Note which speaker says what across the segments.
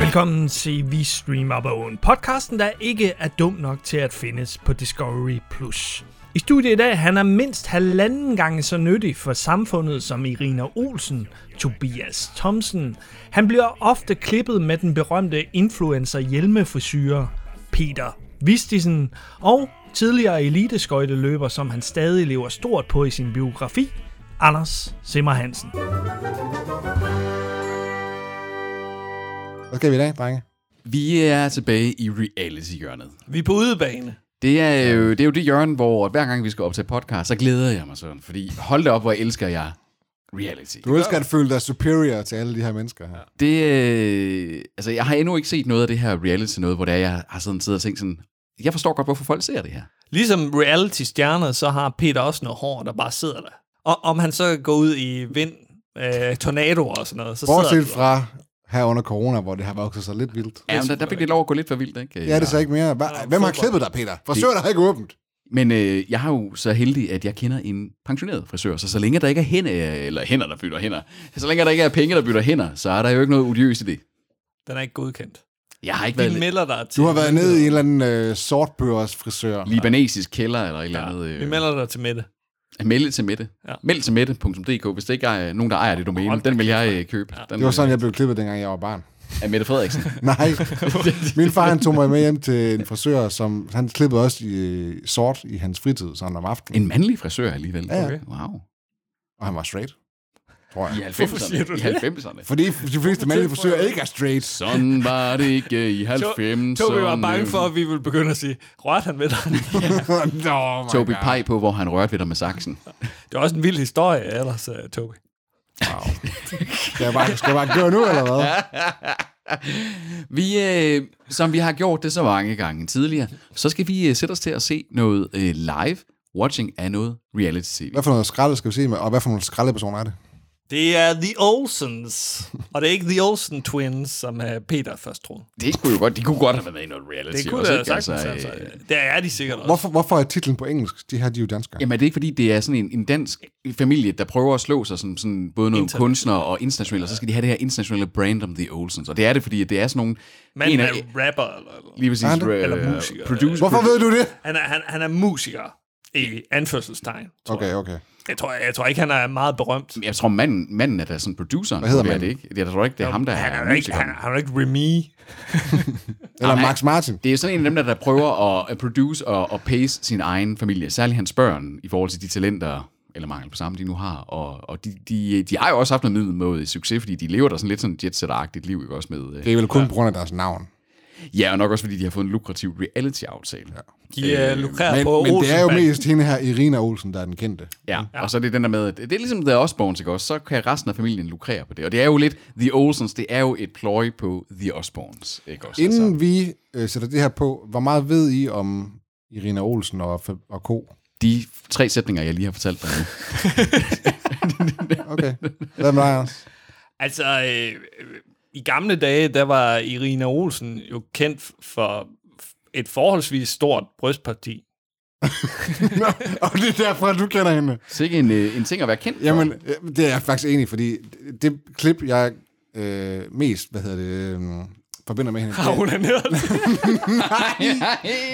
Speaker 1: Velkommen til Vi Stream Up Own, podcasten, der ikke er dum nok til at findes på Discovery+. Plus. I studiet i dag, han er mindst halvanden gange så nyttig for samfundet som Irina Olsen, Tobias Thomsen. Han bliver ofte klippet med den berømte influencer hjelmeforsyre Peter Vistisen, og tidligere eliteskøjteløber, som han stadig lever stort på i sin biografi, Anders Simmer Hansen.
Speaker 2: Hvad skal vi i dag, drenge?
Speaker 3: Vi er tilbage i reality-hjørnet.
Speaker 4: Vi er på udebane.
Speaker 3: Det er, jo, det er jo det hjørne, hvor hver gang vi skal optage podcast, så glæder jeg mig sådan. Fordi hold da op, hvor elsker jeg reality.
Speaker 2: Du elsker at føle dig superior til alle de her mennesker her.
Speaker 3: Det, øh, altså, jeg har endnu ikke set noget af det her reality noget, hvor det er, jeg har sådan siddet og tænkt sådan, jeg forstår godt, hvorfor folk ser det her.
Speaker 4: Ligesom reality-stjerner, så har Peter også noget hår, der bare sidder der. Og om han så går ud i vind, øh, tornadoer og sådan noget, så sidder
Speaker 2: Bortset
Speaker 4: han-
Speaker 2: fra her under corona, hvor det har vokset sig lidt vildt.
Speaker 3: Ja, men Altså, der, der fik det lov at gå lidt for vildt, ikke?
Speaker 2: Ja, det er så ikke mere. Hva- Hvem har klippet dig, Peter? Frisøren har ikke åbent.
Speaker 3: Men øh, jeg har jo så heldig, at jeg kender en pensioneret frisør, så så længe der ikke er hænder, eller hænder, der bytter hænder, så længe der ikke er penge, der bytter hænder, så er der jo ikke noget odiøst i det.
Speaker 4: Den er ikke godkendt.
Speaker 3: Jeg har ikke været
Speaker 4: Vi
Speaker 3: i
Speaker 4: melder dig til...
Speaker 2: Du har været nede i en eller anden øh, sortbørs frisør.
Speaker 3: libanesisk kælder eller et eller andet. øh,
Speaker 4: Vi melder dig til Mette.
Speaker 3: Melde til Mette. Ja.
Speaker 4: Ja.
Speaker 3: Meld til Mette.dk, hvis det ikke er øh, nogen, der ejer det domæne. den vil jeg øh, købe. Ja. Den
Speaker 2: Det var sådan, jeg blev klippet, dengang jeg var barn.
Speaker 3: Af Mette Frederiksen.
Speaker 2: Nej, min far han tog mig med hjem til en frisør, som han klippede også i, øh, sort i hans fritid, sådan om aftenen.
Speaker 3: en mandlig frisør alligevel.
Speaker 2: Ja, ja.
Speaker 3: Wow.
Speaker 2: Og han var straight, tror jeg.
Speaker 3: I 90'erne. I 90'erne.
Speaker 2: Fordi de fleste mandlige frisører ikke er straight.
Speaker 3: Sådan var det ikke i 90'erne.
Speaker 4: Tobi var
Speaker 3: øh,
Speaker 4: bange for, at vi ville begynde at sige, rørte han ved dig?
Speaker 2: Nå, my
Speaker 3: Toby
Speaker 2: God.
Speaker 3: peg på, hvor han rørte ved dig med saksen.
Speaker 4: det er også en vild historie ellers, uh, Tobi.
Speaker 2: Skal jeg bare, skal jeg bare gøre nu, eller hvad?
Speaker 3: Vi, øh, som vi har gjort det så mange gange tidligere, så skal vi øh, sætte os til at se noget øh, live watching af noget reality-tv.
Speaker 2: Hvad for noget skralde skal vi sige med, og hvad for nogle skraldepersoner er det?
Speaker 4: Det er The Olsens. Og det er ikke The Olsen Twins, som øh, Peter først troede.
Speaker 3: Det kunne jo godt, de kunne godt have været med i noget reality.
Speaker 4: Det kunne
Speaker 3: også,
Speaker 4: da
Speaker 3: ikke?
Speaker 4: sagtens altså,
Speaker 3: øh,
Speaker 4: altså, Det er de sikkert også.
Speaker 2: Hvorfor, hvorfor er titlen på engelsk? De her, de er jo danskere.
Speaker 3: Jamen er det ikke fordi, det er sådan en, en dansk familie, der prøver at slå sig som sådan både nogle
Speaker 4: International.
Speaker 3: kunstnere og internationale, og så skal de have det her internationale brand om The Olsens. Og det er det, fordi det er sådan nogle...
Speaker 4: Manden
Speaker 3: en
Speaker 4: er
Speaker 3: af-
Speaker 4: rapper. Eller, eller.
Speaker 3: lige præcis,
Speaker 2: Er han det?
Speaker 3: øh,
Speaker 4: Eller musiker.
Speaker 3: Producer,
Speaker 2: Hvorfor ved du det?
Speaker 4: Han, er, han, han er musiker i anførselstegn. tror jeg.
Speaker 2: Okay, okay.
Speaker 4: Jeg tror, jeg tror ikke, han er meget berømt.
Speaker 3: Jeg tror, manden, manden er der sådan producer.
Speaker 2: Hvad hedder
Speaker 3: det er det
Speaker 2: manden?
Speaker 3: ikke? Jeg tror ikke, det er ham, der
Speaker 4: Han er,
Speaker 3: er
Speaker 4: jo ikke,
Speaker 3: musiker.
Speaker 4: han, er- han er jo ikke Remy.
Speaker 2: Eller
Speaker 3: Jamen,
Speaker 2: Max Martin.
Speaker 3: Det er sådan en af dem, der, der prøver at- at produce og, og pace sin egen familie, særligt hans børn, i forhold til de talenter, eller mangel på samme, de nu har. Og, og de, de, de har jo også haft noget middelmåde i succes, fordi de lever der sådan lidt sådan jet agtigt liv, ikke også med...
Speaker 2: Det
Speaker 3: Øh,
Speaker 2: er vel kun på grund af deres navn.
Speaker 3: ja, og nok også, fordi de har fået en lukrativ reality-aftale. Øhm,
Speaker 4: De øh, lukrerer
Speaker 2: Men,
Speaker 4: på
Speaker 2: men det er jo
Speaker 4: Olsenbanden.
Speaker 2: mest hende her, Irina Olsen, der er den kendte.
Speaker 3: Ja, ja, og så er det den der med, at det er ligesom The Osborns, ikke også? Så kan resten af familien lukrere på det. Og det er jo lidt, The Olsens, det er jo et pløj på The Osborns, ikke også? Altså,
Speaker 2: Inden vi øh, sætter det her på, hvor meget ved I om Irina Olsen og, og Co?
Speaker 3: de tre sætninger, jeg lige har fortalt dig nu.
Speaker 2: Okay. Hvad med dig, Anders?
Speaker 4: Altså, øh, øh, i gamle dage, der var Irina Olsen jo kendt f- for f- et forholdsvis stort brystparti.
Speaker 2: Nå, og det er derfor, du kender hende.
Speaker 3: Sikke en, øh, en ting at være kendt for.
Speaker 2: Jamen, øh, det er jeg faktisk enig i, fordi det- det klip, jeg øh, mest, hvad hedder det, øh, forbinder med hende.
Speaker 4: Har hun er nede?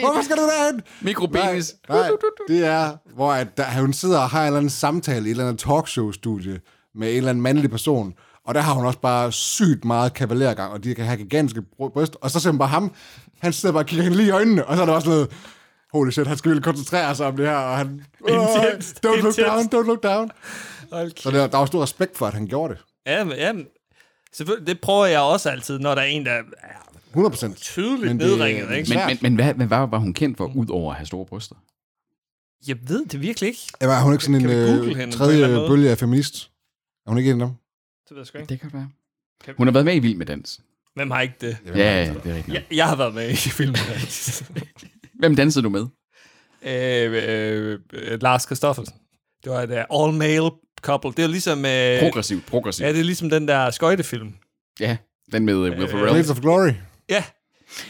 Speaker 2: Hvorfor skal du derhen?
Speaker 3: Mikropenis.
Speaker 2: Nej, nej, det er, hvor at der, hun sidder og har en eller anden samtale i et eller andet talkshow-studie med en eller anden mandlig person, og der har hun også bare sygt meget kavalergang, og de kan have gigantiske bry- bryst, og så ser man bare ham, han sidder bare og kigger hende lige i øjnene, og så er der også noget, holy shit, han skal virkelig koncentrere sig om det her, og han, "Åh,
Speaker 4: Intenst,
Speaker 2: don't look
Speaker 4: intenst."
Speaker 2: down, don't look down.
Speaker 4: Hold
Speaker 2: Så der, der var stor respekt for, at han gjorde det.
Speaker 4: Ja, men- ja, men selvfølgelig, det prøver jeg også altid, når der er en, der er
Speaker 2: 100 procent.
Speaker 4: tydeligt
Speaker 2: Men det-
Speaker 4: nedringet. Ikke?
Speaker 3: Men, men,
Speaker 4: Men,
Speaker 3: men hvad, hvad var, var hun kendt
Speaker 4: Mm.
Speaker 3: for, ud over at have store bryster?
Speaker 4: jeg ved det virkelig ikke.
Speaker 2: Er hun ikke sådan
Speaker 4: Kan vi
Speaker 2: en
Speaker 4: google
Speaker 2: øh,
Speaker 4: hende på en eller anden
Speaker 2: tredje
Speaker 4: måde?
Speaker 2: bølge af feminist? Er hun ikke en af dem?
Speaker 4: Det ved jeg sgu ikke.
Speaker 3: Det kan være. Hun har været med i Vild med Dans.
Speaker 4: Hvem har ikke det?
Speaker 3: Ja, ja det er rigtigt.
Speaker 4: Jeg,
Speaker 3: nok.
Speaker 4: jeg har været med i filmen.
Speaker 3: Hvem dansede du med?
Speaker 4: øh, øh, øh, Lars Kristoffersen. Det var et uh, all-male couple. Det er ligesom... Øh,
Speaker 3: Progressivt, progressivt.
Speaker 4: ja, det er ligesom den der skøjtefilm.
Speaker 3: Ja, den med øh, Will Ferrell.
Speaker 2: Blades of Glory.
Speaker 4: Ja,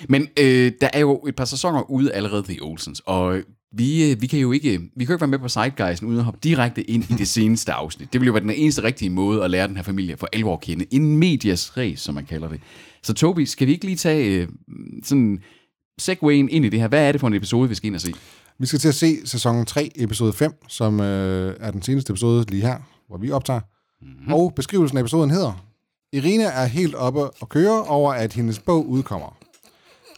Speaker 3: Men øh, der er jo et par sæsoner ude allerede, The Olsens, og øh, vi, øh, vi kan jo ikke, vi kan jo ikke være med på Sidegeisen uden at hoppe direkte ind i det seneste afsnit. Det ville jo være den eneste rigtige måde at lære den her familie for alvor at kende. En medias race, som man kalder det. Så Tobi, skal vi ikke lige tage øh, sådan segwayen ind i det her? Hvad er det for en episode, vi skal ind og se?
Speaker 2: Vi skal til at se sæson 3, episode 5, som øh, er den seneste episode lige her, hvor vi optager. Mm-hmm. Og beskrivelsen af episoden hedder, Irina er helt oppe og køre over, at hendes bog udkommer.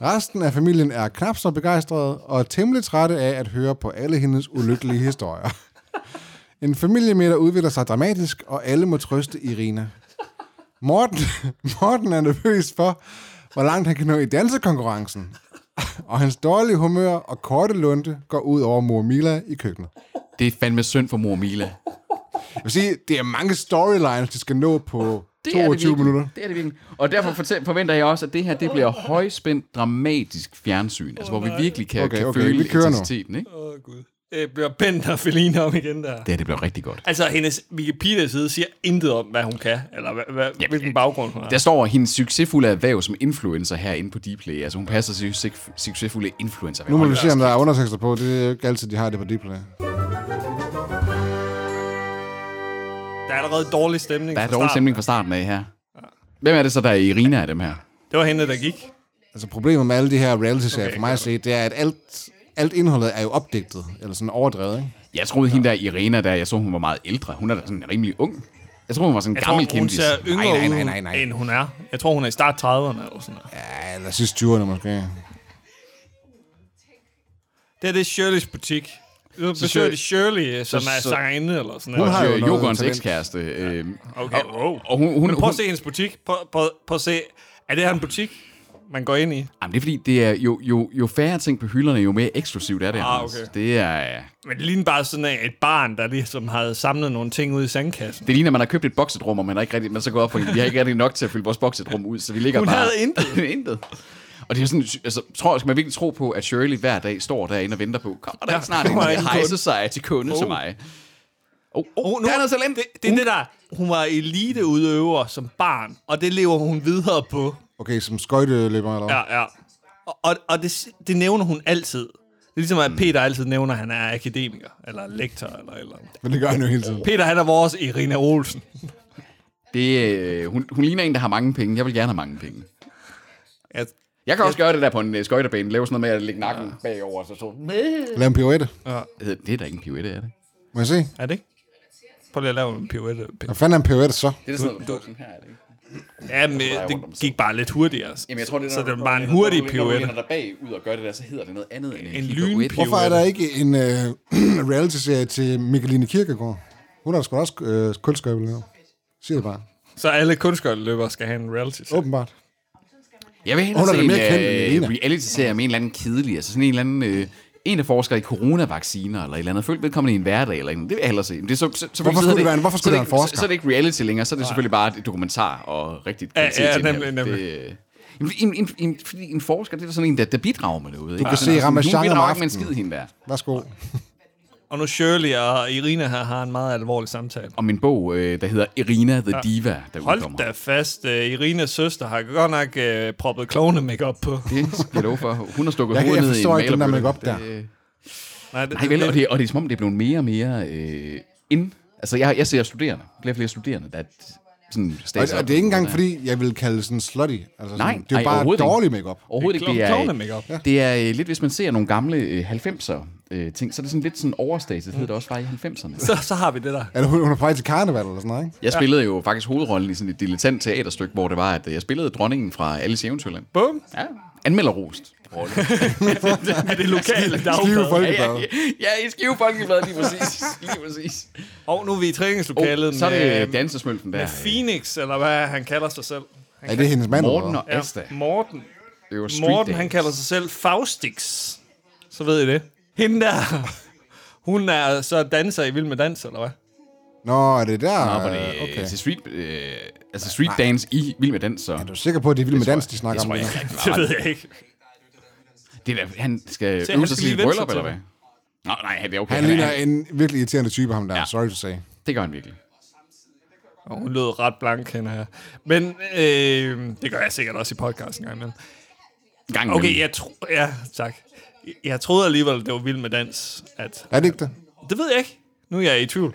Speaker 2: Resten af familien er knap så begejstrede og temmelig trætte af at høre på alle hendes ulykkelige historier. En familiemiddag udvikler sig dramatisk, og alle må trøste Irina. Morten, Morten er nervøs for, hvor langt han kan nå i dansekonkurrencen. Og hans dårlige humør og korte lunte går ud over mor Mila i køkkenet.
Speaker 3: Det er fandme synd for mor Mila.
Speaker 2: Jeg vil sige, det er mange storylines, de skal nå på
Speaker 3: Det er det
Speaker 2: 22
Speaker 3: virkelig.
Speaker 2: minutter.
Speaker 3: Det er det virkelig. Og derfor fortæl, forventer jeg også, at det her det bliver højspændt, dramatisk fjernsyn. Altså, hvor vi virkelig kan,
Speaker 2: Okay,
Speaker 3: kan
Speaker 2: okay,
Speaker 3: føle
Speaker 2: vi kører nu.
Speaker 3: intensiteten. Ikke?
Speaker 4: Åh, oh, Gud. Det bliver Bent og Feline om igen der.
Speaker 3: Det her det bliver rigtig godt.
Speaker 4: Altså, hendes Wikipedia-side siger intet om, hvad hun kan, eller hvad, hvad, hvilken baggrund hun har.
Speaker 3: Der står hendes succesfulde erhverv som influencer herinde på Dplay. Altså, hun passer sin succes- succesfulde influencer.
Speaker 2: Nu må vi se, om der er undertekster på. Det er jo ikke altid, de har det på Dplay.
Speaker 4: Der er allerede dårlig stemning.
Speaker 3: Der er
Speaker 4: fra
Speaker 3: dårlig
Speaker 4: starten.
Speaker 3: stemning fra starten af her. Hvem er det så, der er Irina af dem her?
Speaker 4: Det var hende, der gik.
Speaker 2: Altså problemet med alle de her reality-serier for mig at se, det er, at alt, alt indholdet er jo opdigtet, eller sådan overdrevet, ikke?
Speaker 3: Jeg troede, hende der Irina der, jeg så, hun var meget ældre. Hun er da sådan rimelig ung. Jeg tror, hun var sådan en
Speaker 4: Jeg
Speaker 3: gammel
Speaker 4: tror, hun
Speaker 3: kendis.
Speaker 4: ser yngre
Speaker 2: Nej, nej, nej, nej, nej.
Speaker 4: ud, end hun er. Jeg tror, hun er i start 30'erne eller sådan noget.
Speaker 2: Ja, eller sidst 20'erne måske.
Speaker 4: Det er det er Shirley's butik. Du besøger
Speaker 3: Shirley-
Speaker 4: de Shirley, øh, som
Speaker 3: så-
Speaker 4: er
Speaker 3: så-
Speaker 4: sangerinde eller sådan
Speaker 2: Hun
Speaker 4: noget.
Speaker 2: har jo
Speaker 3: Øh,
Speaker 2: noget
Speaker 3: Jokerens
Speaker 2: talent.
Speaker 3: ekskæreste. Øh,
Speaker 4: Okay, wow.
Speaker 3: og hun, hun,
Speaker 4: Men prøv
Speaker 3: hun,
Speaker 4: at se hendes butik. Prøv, prøv, prøv at se. Er det her en butik, man går ind i?
Speaker 3: Jamen, det er fordi, det er jo, jo, jo færre ting på hylderne, jo mere eksklusivt er det.
Speaker 4: Ah,
Speaker 3: Anders.
Speaker 4: okay.
Speaker 3: Det er... øh,
Speaker 4: Men det ligner bare sådan et barn, der ligesom havde samlet nogle ting ude i sandkassen.
Speaker 3: Det ligner, at man har købt et boksetrum, og man er ikke rigtig, man så går op for, vi har ikke rigtig nok til at fylde vores boksetrum ud, så vi ligger
Speaker 4: Hun
Speaker 3: bare...
Speaker 4: havde intet.
Speaker 3: intet. Og det er sådan, altså, tror, skal man virkelig tro på, at Shirley hver dag står derinde og venter på, kommer der ikke snart en,
Speaker 4: kommer
Speaker 3: der
Speaker 4: en
Speaker 3: hejser sig til kunde oh. til mig. Oh, oh, oh,
Speaker 4: nu-
Speaker 3: der er noget talent. Det,
Speaker 4: Det er det der, hun var eliteudøver som barn, og det lever hun videre på.
Speaker 2: Okay, som skøjteløber eller hvad?
Speaker 4: Ja, ja. Og, og, og det, det nævner hun altid. Det er ligesom, at Peter altid nævner, at han er akademiker, eller lektor, eller et eller andet.
Speaker 2: Men det gør han jo hele tiden.
Speaker 4: Peter, han er vores Irina Olsen.
Speaker 3: det øh, hun, hun ligner en, der har mange penge. Jeg vil gerne have mange penge.
Speaker 4: Jeg,
Speaker 3: Jeg kan også gøre det der på en øh, skøjtebane. Lave sådan noget med at lægge nakken bagover, og så så...
Speaker 2: Lav en pirouette.
Speaker 3: Det er da ikke en pirouette, er det?
Speaker 2: Må jeg se?
Speaker 4: er det ikke? Prøv lige at lave en pirouette.
Speaker 2: Hvad fanden er en pirouette så?
Speaker 3: Det er sådan noget, sådan her, er det ikke?
Speaker 4: Ja, men øh, det gik bare lidt hurtigere.
Speaker 3: Jamen, jeg tror, det er,
Speaker 4: så
Speaker 3: når
Speaker 4: det
Speaker 3: du-
Speaker 4: var bare en
Speaker 3: når du-
Speaker 4: hurtig
Speaker 3: når du-
Speaker 4: pirouette.
Speaker 3: Når du læner dig bagud og gør det der, så hedder det noget andet end en,
Speaker 4: En
Speaker 3: pirouette.
Speaker 4: lynpirouette.
Speaker 2: Hvorfor er der ikke en øh, reality-serie til Mikkeline Kirkegaard? Hun har da sgu da også øh, kunstskøjtel nu. Siger det bare.
Speaker 4: Så alle kunstskøjteløbere skal have en reality show.
Speaker 2: Åbenbart.
Speaker 3: Jeg vil hellere
Speaker 2: Hun er
Speaker 3: se
Speaker 2: da
Speaker 3: en
Speaker 2: mere kendt end
Speaker 3: øh,
Speaker 2: Elena.
Speaker 3: reality-serie med en eller anden kedelig, altså sådan en eller anden... Øh, en, der forsker i coronavacciner eller et eller andet. Følg vedkommende i en hverdag eller en. Det vil jeg hellere se. Men det er så, så, så
Speaker 2: skulle det være en- hvorfor skulle det være en forsker?
Speaker 3: Så, så er det ikke reality længere, så er det selvfølgelig bare et dokumentar og rigtigt
Speaker 4: Ja, ja,
Speaker 3: kvalitetsindhold.
Speaker 4: nemlig, nemlig.
Speaker 3: Det, øh, jamen, en, en, en, fordi en forsker, det er sådan en, der, der bidrager med noget. Du
Speaker 2: kan se Ramasjang
Speaker 3: Hun
Speaker 2: om
Speaker 3: bidrager ikke med en
Speaker 2: aftenen.
Speaker 3: skid, hende der.
Speaker 2: Værsgo.
Speaker 4: Og nu Shirley og Irina her har en meget alvorlig samtale.
Speaker 3: Om min bog, øh, der hedder Irina the Diva, der
Speaker 4: Hold
Speaker 3: udkommer.
Speaker 4: da fast, øh, Irinas søster har godt nok øh, proppet klovne makeup på.
Speaker 3: Det skal jeg love for. Hun har stukket
Speaker 2: Jeg kan- jeg
Speaker 3: hovedet ned i
Speaker 2: forstår ikke den der
Speaker 3: malerbøtte.
Speaker 2: makeup
Speaker 3: Det, øh,
Speaker 4: Nej, det,
Speaker 3: Nej, vel, og det, og det er som om, det er blevet mere og mere øh, ind. Altså, jeg, jeg ser studerende. Flere og flere studerende, der sådan
Speaker 2: Og,
Speaker 3: stager
Speaker 2: og det er ikke engang, fordi jeg vil kalde det sådan slutty. Altså,
Speaker 3: Nej,
Speaker 2: sådan, det er jo
Speaker 3: nej,
Speaker 2: bare
Speaker 3: overhovedet ikke.
Speaker 2: dårlig makeup.
Speaker 3: Overhovedet ikke.
Speaker 4: Det er klovne
Speaker 3: Det er,
Speaker 4: makeup.
Speaker 3: øh, det er øh, lidt, hvis man ser nogle gamle øh, 90'er øh, ting, så er det sådan lidt sådan overstatet. Det hedder det også bare i 90'erne.
Speaker 4: så, så har vi det der.
Speaker 2: Eller hun, hun er på vej til karneval eller sådan noget, ikke?
Speaker 3: Jeg spillede jo faktisk hovedrollen i sådan et dilettant teaterstykke, hvor det var, at øh, jeg spillede dronningen fra Alice i Eventyrland.
Speaker 4: Bum.
Speaker 3: Ja, anmelderrost. Rolle.
Speaker 4: Er det lokale
Speaker 2: Skive
Speaker 4: dagblad?
Speaker 2: Folkeblad.
Speaker 3: ja, i Skive Folkeblad, lige præcis. Lige præcis.
Speaker 4: Og nu er vi i træningslokalet
Speaker 3: Oh,
Speaker 4: oh,
Speaker 3: så er det
Speaker 4: med,
Speaker 3: dansesmølfen der. øh,
Speaker 4: med Phoenix, eller hvad han kalder sig selv. Han
Speaker 2: Er det hendes mand? eller
Speaker 3: Morten
Speaker 2: hvad?
Speaker 3: og Asta.
Speaker 4: Morten.
Speaker 3: Det var street
Speaker 4: Morten, han
Speaker 3: dance.
Speaker 4: kalder sig selv Faustix. Så ved I det. Hende der, hun er så danser i Vild med Dans, eller hvad?
Speaker 2: Nå, er det der?
Speaker 3: Nå, var det
Speaker 2: Øh, okay.
Speaker 3: okay. til street, øh, altså street dance i Vild med Dans, så
Speaker 2: Er du sikker på, at det er Vild med Dans, de
Speaker 3: det
Speaker 2: snakker om?
Speaker 3: tror jeg
Speaker 2: Det
Speaker 3: ikke rigtig
Speaker 4: Det
Speaker 3: meget.
Speaker 4: ved jeg ikke.
Speaker 3: Det er da, han skal
Speaker 4: Se,
Speaker 3: øve
Speaker 4: han
Speaker 3: sig
Speaker 4: skal
Speaker 3: til
Speaker 4: lige
Speaker 3: et
Speaker 4: vende
Speaker 3: bryllup,
Speaker 4: sig
Speaker 3: eller
Speaker 4: til
Speaker 3: hvad? Nå, nej, det er okay.
Speaker 2: han ligner en virkelig irriterende type, ham der.
Speaker 3: Ja.
Speaker 2: Sorry to say.
Speaker 3: det gør han virkelig.
Speaker 4: Og hun lød ret blank, hende her. Men øh, det gør jeg sikkert også i podcasten gang imellem.
Speaker 3: En Gang
Speaker 4: Okay,
Speaker 3: imellem.
Speaker 4: jeg tror... Ja, tak. Jeg troede alligevel, det var vild med dans. At,
Speaker 2: Er det ikke det?
Speaker 4: det ved jeg ikke. Nu er jeg i tvivl.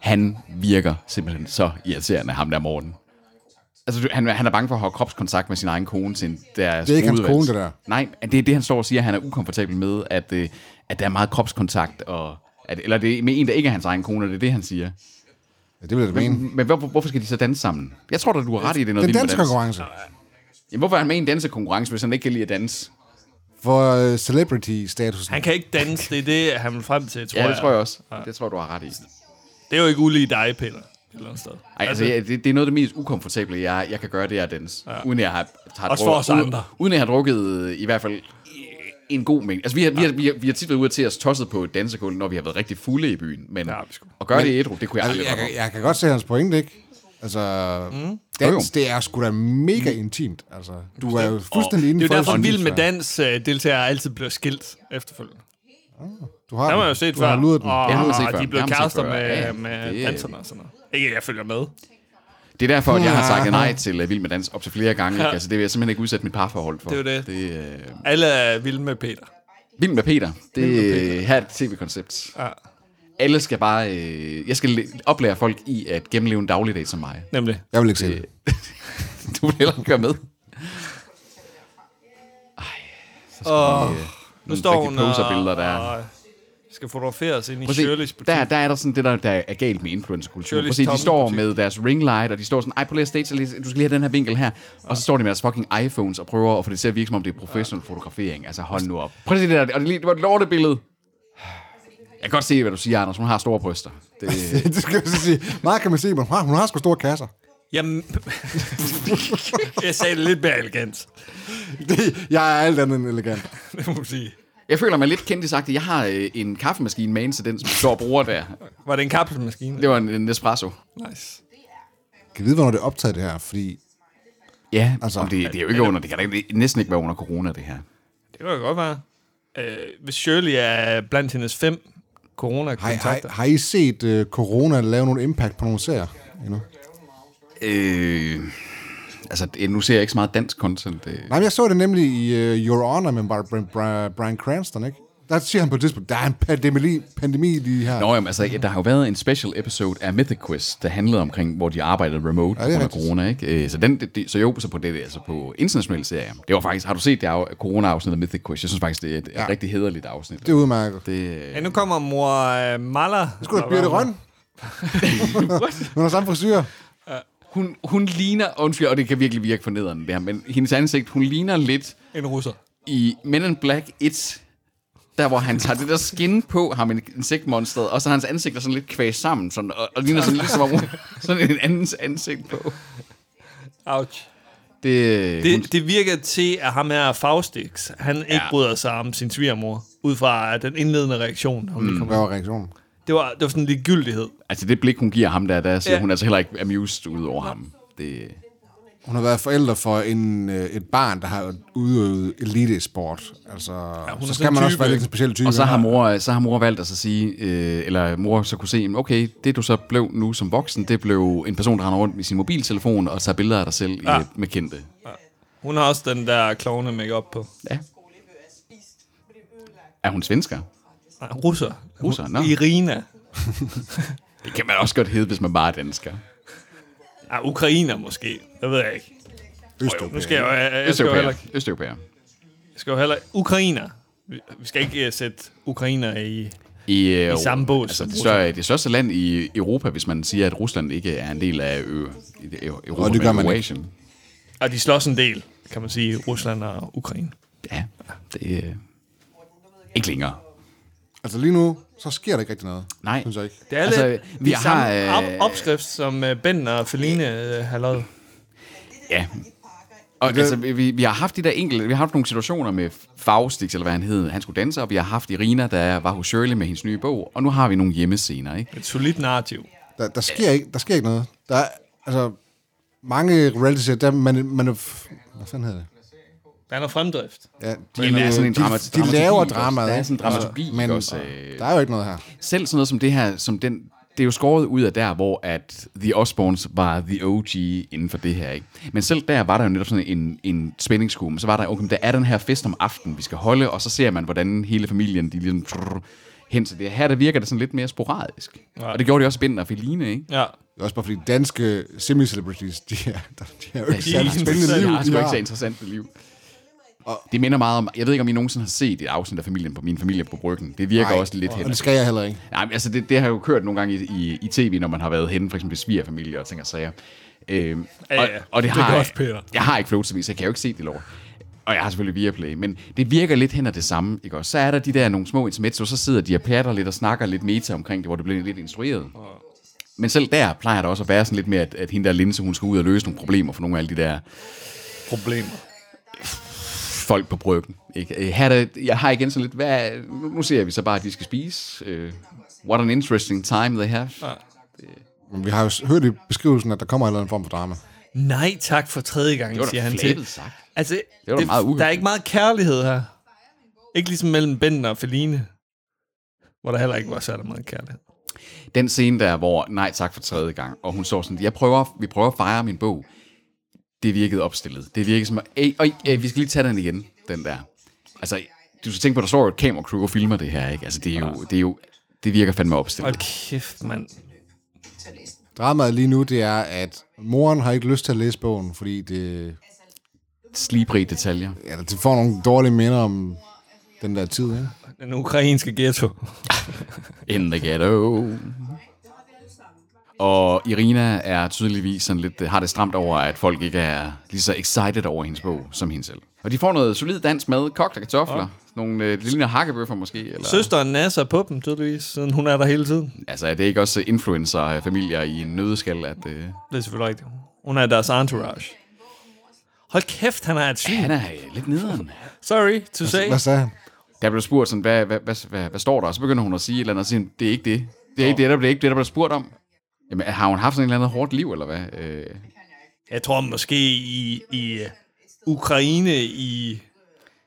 Speaker 3: Han virker simpelthen så irriterende, ham der Morten. Altså, du- han, han er bange for at have kropskontakt med sin egen kone til en- deres
Speaker 2: Det er ikke hans
Speaker 3: brudevals.
Speaker 2: kone, det der.
Speaker 3: Nej, det er det, han står og siger, han er ukomfortabel med, at, øh, at der er meget kropskontakt, og at, eller det er med en, der ikke er hans egen kone, og det er det, han siger.
Speaker 2: Ja, det vil jeg da mene.
Speaker 3: Men hvor, hvorfor skal de så danse sammen? Jeg tror da, du har ret i, det er noget
Speaker 2: Mm. Den
Speaker 3: vildt
Speaker 2: danske
Speaker 3: med dans.
Speaker 2: konkurrence.
Speaker 3: Jamen, hvorfor er han med i en dansekonkurrence, hvis han ikke kan lide at danse?
Speaker 2: For øh, celebrity-statusen.
Speaker 4: Han kan ikke danse, det er det, han vil frem til, tror,
Speaker 3: Ja, det tror jeg også. Det tror jeg, du har ret i.
Speaker 4: Altså- Det er jo ikke ulige dig, Peter. Et eller andet sted.
Speaker 3: Ej, altså, ja, det, det er noget af det mest ukomfortable, jeg, jeg kan gøre, det er at danse. Ja. Uden jeg har, har
Speaker 4: Også
Speaker 3: drukket-
Speaker 4: for os andre.
Speaker 3: Uden, uden jeg har drukket øh, i hvert fald øh, en god mængde. Altså, vi har, vi har, vi har, vi har tit været ude til at tosset på et dansegulv, når vi har været rigtig fulde i byen. Men
Speaker 4: Ja, vi skulle.
Speaker 3: at gøre det i ædru, det kunne
Speaker 2: Altså,
Speaker 3: jeg aldrig
Speaker 2: jeg,
Speaker 3: altså,
Speaker 2: kan, jeg kan godt se hans pointe, ikke? Altså, mm. dans, det er sgu da mega intimt. Altså, du er jo fuldstændig
Speaker 4: Det
Speaker 2: inden
Speaker 4: er jo derfor,
Speaker 2: din
Speaker 4: vild med
Speaker 2: sfære.
Speaker 4: dans øh, deltagere altid bliver skilt efterfølgende.
Speaker 2: Du har
Speaker 4: Der har
Speaker 2: den.
Speaker 4: man jo set
Speaker 2: du
Speaker 4: før.
Speaker 2: Har luret den.
Speaker 4: Og,
Speaker 3: Det har man set før.
Speaker 4: og de
Speaker 3: Det
Speaker 4: er
Speaker 3: har
Speaker 4: blevet
Speaker 3: man set
Speaker 4: kærester
Speaker 3: før.
Speaker 4: med,
Speaker 3: Ja, ja.
Speaker 4: med
Speaker 3: Det-
Speaker 4: danserne og sådan noget. Ikke, at jeg følger med.
Speaker 3: Det er derfor, at jeg har sagt nej til uh, Vild Med Dans op til flere gange. Ja. Altså, det vil jeg simpelthen ikke udsætte mit parforhold for.
Speaker 4: Det er jo det.
Speaker 3: det uh,
Speaker 4: Alle er vilde med Peter.
Speaker 3: Vild med Peter. Det øh, her er et tv-koncept.
Speaker 4: Ja.
Speaker 3: Alle skal bare... Øh, jeg skal le- oplære folk i at gennemleve en dagligdag som mig.
Speaker 4: Nemlig.
Speaker 2: Jeg vil ikke se det.
Speaker 3: Du vil heller ikke gøre med.
Speaker 4: Og nu
Speaker 3: øh, Nogle
Speaker 4: står
Speaker 3: rigtige
Speaker 4: hun
Speaker 3: poserbilleder, der er.
Speaker 4: og skal fotograferes ind i
Speaker 3: Prøv at se,
Speaker 4: Shirley's butik.
Speaker 3: der, der er der sådan det, der, der er galt med influencerkultur.
Speaker 4: Shirley's
Speaker 3: Prøv at se, de
Speaker 4: tomme
Speaker 3: står
Speaker 4: butik.
Speaker 3: med deres ringlight, og de står sådan, ej, på lige at stage, lige- du skal lige have den her vinkel her. Og så står de med deres fucking iPhones og prøver at få det til at virke, som om det er professionel fotografering. Altså, hold nu op. Prøv at se det der, og det, lige- det var et lortebillede. Jeg kan godt se, hvad du siger, Anders. Hun har store bryster. Det,
Speaker 2: det skal jeg så sige. Meget kan man se, men hun har, hun har sgu store kasser.
Speaker 4: Jamen, jeg sagde det lidt mere elegant,
Speaker 2: Det, jeg er alt andet end elegant.
Speaker 4: det må man sige.
Speaker 3: jeg føler mig lidt kendtisagtig. Jeg har øh, en kaffemaskine med en til den, som du står og bruger der.
Speaker 4: Var det en kapselmaskine?
Speaker 3: Det var en, en espresso.
Speaker 4: Nice.
Speaker 2: Kan vide, hvornår det er optaget, det her? Fordi
Speaker 3: Ja,
Speaker 2: Altså,
Speaker 3: altså, det, det er jo ikke under, det kan da ikke- det er næsten ikke være under corona, det her.
Speaker 4: Det kan jo godt være. Øh, hvis Shirley er blandt hendes fem
Speaker 2: har, har,
Speaker 4: corona-kontakter.
Speaker 2: har I set uh, corona lave nogle impact på nogle serier endnu?
Speaker 3: Øh, altså, det- nu ser jeg ikke så meget dansk content. Øh.
Speaker 2: Nej, men jeg så det nemlig i uh, Your Honor med Brian, Brian, Brian Cranston, ikke? Der siger han på et tidspunkt, der er en pandemi, pandemi lige her.
Speaker 3: Nå, jamen, altså, ja, der har jo været en special episode af Mythic Quest, der handlede omkring, hvor de arbejdede remote
Speaker 2: Ja,
Speaker 3: ja,
Speaker 2: det er
Speaker 3: under
Speaker 2: rigtigt.
Speaker 3: corona, ikke? Øh, Så, den, det- det, så jo, så på det, altså på internationale serier. Det var faktisk, har du set det af corona-afsnit af Mythic Quest? Jeg synes faktisk, det er et ja. rigtig hederligt afsnit.
Speaker 2: Det er udmærket. Det
Speaker 3: det,
Speaker 4: Ja, nu kommer mor øh, Maller.
Speaker 2: er sgu da Birte Røn. Hun har samme frisyr.
Speaker 3: hun, hun ligner, undskyld, og det kan virkelig virke fornedrende det her, men hendes ansigt, hun ligner lidt
Speaker 4: En russer.
Speaker 3: i Men in Black 1, der hvor han tager det der skin på ham, en- insektmonstret, og så er hans ansigt er sådan lidt kvæst sammen, sådan, og, og ligner sådan lidt som om hun- sådan en andens ansigt på.
Speaker 4: Ouch.
Speaker 3: Det, det hun,
Speaker 4: Det, det virker til, at ham her Faustix, han ja. ikke bryder sig om sin svigermor, ud fra øh, den indledende reaktion. Hun mm.
Speaker 2: Hvad var reaktionen? det
Speaker 4: det, var, det var sådan en ligegyldighed.
Speaker 3: altså det blik, hun giver ham der, der siger
Speaker 4: Ja.
Speaker 3: ja. hun altså heller ikke amused ud over ham. Det,
Speaker 2: Hun har været forældre for en, øh, et barn, der har udøvet elitesport. Altså, ja,
Speaker 4: hun
Speaker 2: så
Speaker 4: er
Speaker 2: skal
Speaker 4: sådan
Speaker 2: man
Speaker 4: en
Speaker 2: også
Speaker 4: type,
Speaker 2: være lidt
Speaker 4: ikke?
Speaker 2: en speciel type.
Speaker 3: og så har,
Speaker 2: hun...
Speaker 3: mor, så har mor valgt at så sige, øh, eller mor så kunne se, "Jamen, okay, det du så blev nu som voksen, det blev en person, der render rundt med sin mobiltelefon og tager billeder af dig selv ja. med kendte.
Speaker 4: Hun har også den der klovne makeup på.
Speaker 3: Ja. Er hun svensker?
Speaker 4: Nej, russer.
Speaker 3: Russer,
Speaker 4: Hun-
Speaker 3: nå.
Speaker 4: Irina.
Speaker 3: Det kan man også godt hedde, hvis man bare er dansker.
Speaker 4: Ja, ukrainer måske. Det ved jeg ikke. Nu skal jeg jo, jeg, jeg skal jo
Speaker 3: Østeuropæer.
Speaker 4: heller ikke...
Speaker 3: Østeuropæer.
Speaker 4: Jeg skal jo heller ikke... Ukrainer. Vi vi skal ikke uh, sætte ukrainer i...
Speaker 3: I, øh,
Speaker 4: samme bås
Speaker 3: Altså,
Speaker 4: som
Speaker 3: det, større, det største land i Europa, hvis man siger, at Rusland ikke er en del af ø, i det- Europa.
Speaker 2: Og det gør
Speaker 3: men
Speaker 2: man
Speaker 3: Eurasien.
Speaker 4: Og de slås en del, kan man sige, Rusland og Ukraine.
Speaker 3: Ja, det er ikke længere.
Speaker 2: Altså lige nu, så sker der ikke rigtig noget.
Speaker 3: Nej.
Speaker 2: Synes jeg ikke.
Speaker 4: Det er
Speaker 3: Altså,
Speaker 4: lidt
Speaker 3: vi
Speaker 4: vi
Speaker 3: har,
Speaker 4: samme
Speaker 3: øh,
Speaker 4: op- opskrift, som uh, Ben og Feline uh, har lavet.
Speaker 3: Ja. Og altså, vi, vi har haft de der enkelte, vi har haft nogle situationer med Faustix, eller hvad han hed, han skulle danse, og vi har haft Irina, der var hos Shirley med hendes nye bog, og nu har vi nogle hjemmescener, ikke?
Speaker 4: Et solidt narrativ.
Speaker 2: Der, der, sker, ikke, der sker ikke noget. Der er, altså, mange reality serier, der man, man er, f- hvad fanden hedder det?
Speaker 4: Der er noget fremdrift.
Speaker 2: Ja,
Speaker 3: Men der er sådan en
Speaker 2: de,
Speaker 3: dramat-
Speaker 2: de
Speaker 3: dramaturgi
Speaker 2: laver
Speaker 3: også.
Speaker 2: dramaet.
Speaker 3: Der
Speaker 2: ikke?
Speaker 3: er
Speaker 2: Altså,
Speaker 3: sådan en dramaturgi,
Speaker 2: men
Speaker 3: ikke også, øh.
Speaker 2: der er jo ikke noget her.
Speaker 3: Selv sådan noget som det her, som den det er jo skåret ud af der, hvor at The Osborns var The OG inden for det her. Ikke? Men selv der var der jo netop sådan en, en spændingsskue, men så var der, okay, men der er den her fest om aftenen, vi skal holde, og så ser man, hvordan hele familien, de ligesom trrr, hen til det. Her der virker det sådan lidt mere sporadisk. Ja. Og det gjorde de også i Binder og Feline, ikke?
Speaker 4: Ja.
Speaker 2: Det er også bare fordi danske semi-celebrities, de er, de er jo ikke
Speaker 3: Det er
Speaker 2: særlig
Speaker 4: ikke
Speaker 2: spændende
Speaker 4: interessant.
Speaker 2: liv.
Speaker 3: Det er sgu
Speaker 2: de
Speaker 3: ikke
Speaker 2: har.
Speaker 3: så interessant det liv. Det minder meget om, jeg ved ikke om I nogensinde har set et afsnit af familien på min familie på bryggen. Det virker
Speaker 2: Nej.
Speaker 3: også lidt hen.
Speaker 2: Og det skal jeg heller ikke.
Speaker 3: Nej, men altså det, det har jeg jo kørt nogle gange i, i, i tv, når man har været henne, for eksempel i svigerfamilie og ting og sager. Øhm,
Speaker 4: Ja,
Speaker 3: og,
Speaker 4: ja.
Speaker 3: og det,
Speaker 4: Det
Speaker 3: har
Speaker 4: gør
Speaker 3: jeg,
Speaker 4: også Peter.
Speaker 3: jeg har ikke float-tv, så jeg kan jo ikke se det lort. Og jeg har selvfølgelig Viaplay, men det virker lidt hen ad det samme, ikke også? Så er der de der nogle små intermezzo, så sidder de og patter lidt og snakker lidt meta omkring det, hvor det bliver lidt instrueret. Men selv der plejer der også at være sådan lidt mere, at, at hende der Linse, hun skal ud og løse nogle problemer for nogle af alle de der
Speaker 4: Problemer.
Speaker 3: folk på bryggen. Ikke? Øh, Her er der, jeg har igen sådan lidt, hvad, nu, nu ser vi så bare, at de skal spise. Øh, what an interesting time they have.
Speaker 2: Men vi har jo s- hørt i beskrivelsen, at der kommer en eller anden form for drama.
Speaker 4: Nej tak for tredje
Speaker 3: Det var
Speaker 4: gang,
Speaker 3: da
Speaker 4: siger han
Speaker 3: flabet
Speaker 4: til.
Speaker 3: sagt.
Speaker 4: Altså, det
Speaker 3: var da meget uhyggeligt.
Speaker 4: der er ikke meget kærlighed her. Ikke ligesom mellem Bender og Feline, hvor der heller ikke var særlig meget kærlighed.
Speaker 3: Den scene der, hvor nej tak for tredje gang, og hun står sådan, jeg prøver, vi prøver at fejre min bog. Det virkede opstillet. Det virkede som, ej, øj, øh, vi skal lige tage den igen, den der. Altså, du skal tænke på, der står jo et kamera crew og filmer det her, ikke? Altså, det er jo, det, er jo, det virker fandme opstillet.
Speaker 4: Hold kæft, mand.
Speaker 2: Dramaet lige nu, det er, at moren har ikke lyst til at læse bogen, fordi det,
Speaker 3: Slibrige detaljer.
Speaker 2: ja, det får nogle dårlige minder om den der tid, ikke?
Speaker 4: Den ukrainske ghetto.
Speaker 3: In the ghetto. Og Irina er tydeligvis sådan lidt, øh, har det stramt over, at folk ikke er lige så excited over hendes bog som hende selv. Og de får noget solid dans med kogt og kartofler. Nogle øh, det ligner hakkebøffer måske. Eller,
Speaker 4: Søsteren nasser på dem, tydeligvis, siden hun er der hele tiden.
Speaker 3: Altså er det ikke også influencer-familier i en nødeskal, at øh,
Speaker 4: Det er selvfølgelig rigtigt. Hun er deres entourage. Hold kæft, han er et svin.
Speaker 3: han er øh, lidt nederen?
Speaker 4: Sorry to say.
Speaker 2: Hvad sagde han?
Speaker 3: Der blev spurgt sådan, hvad, hvad, hvad, hvad, hvad står der? Og så begynder hun at sige et eller andet, og siger, det er ikke det. Det er ikke det, der, det er ikke det, der blev spurgt om. Jamen, har hun haft sådan et eller andet hårdt liv, eller hvad? Øh,
Speaker 4: Jeg tror måske i, i øh, Ukraine i,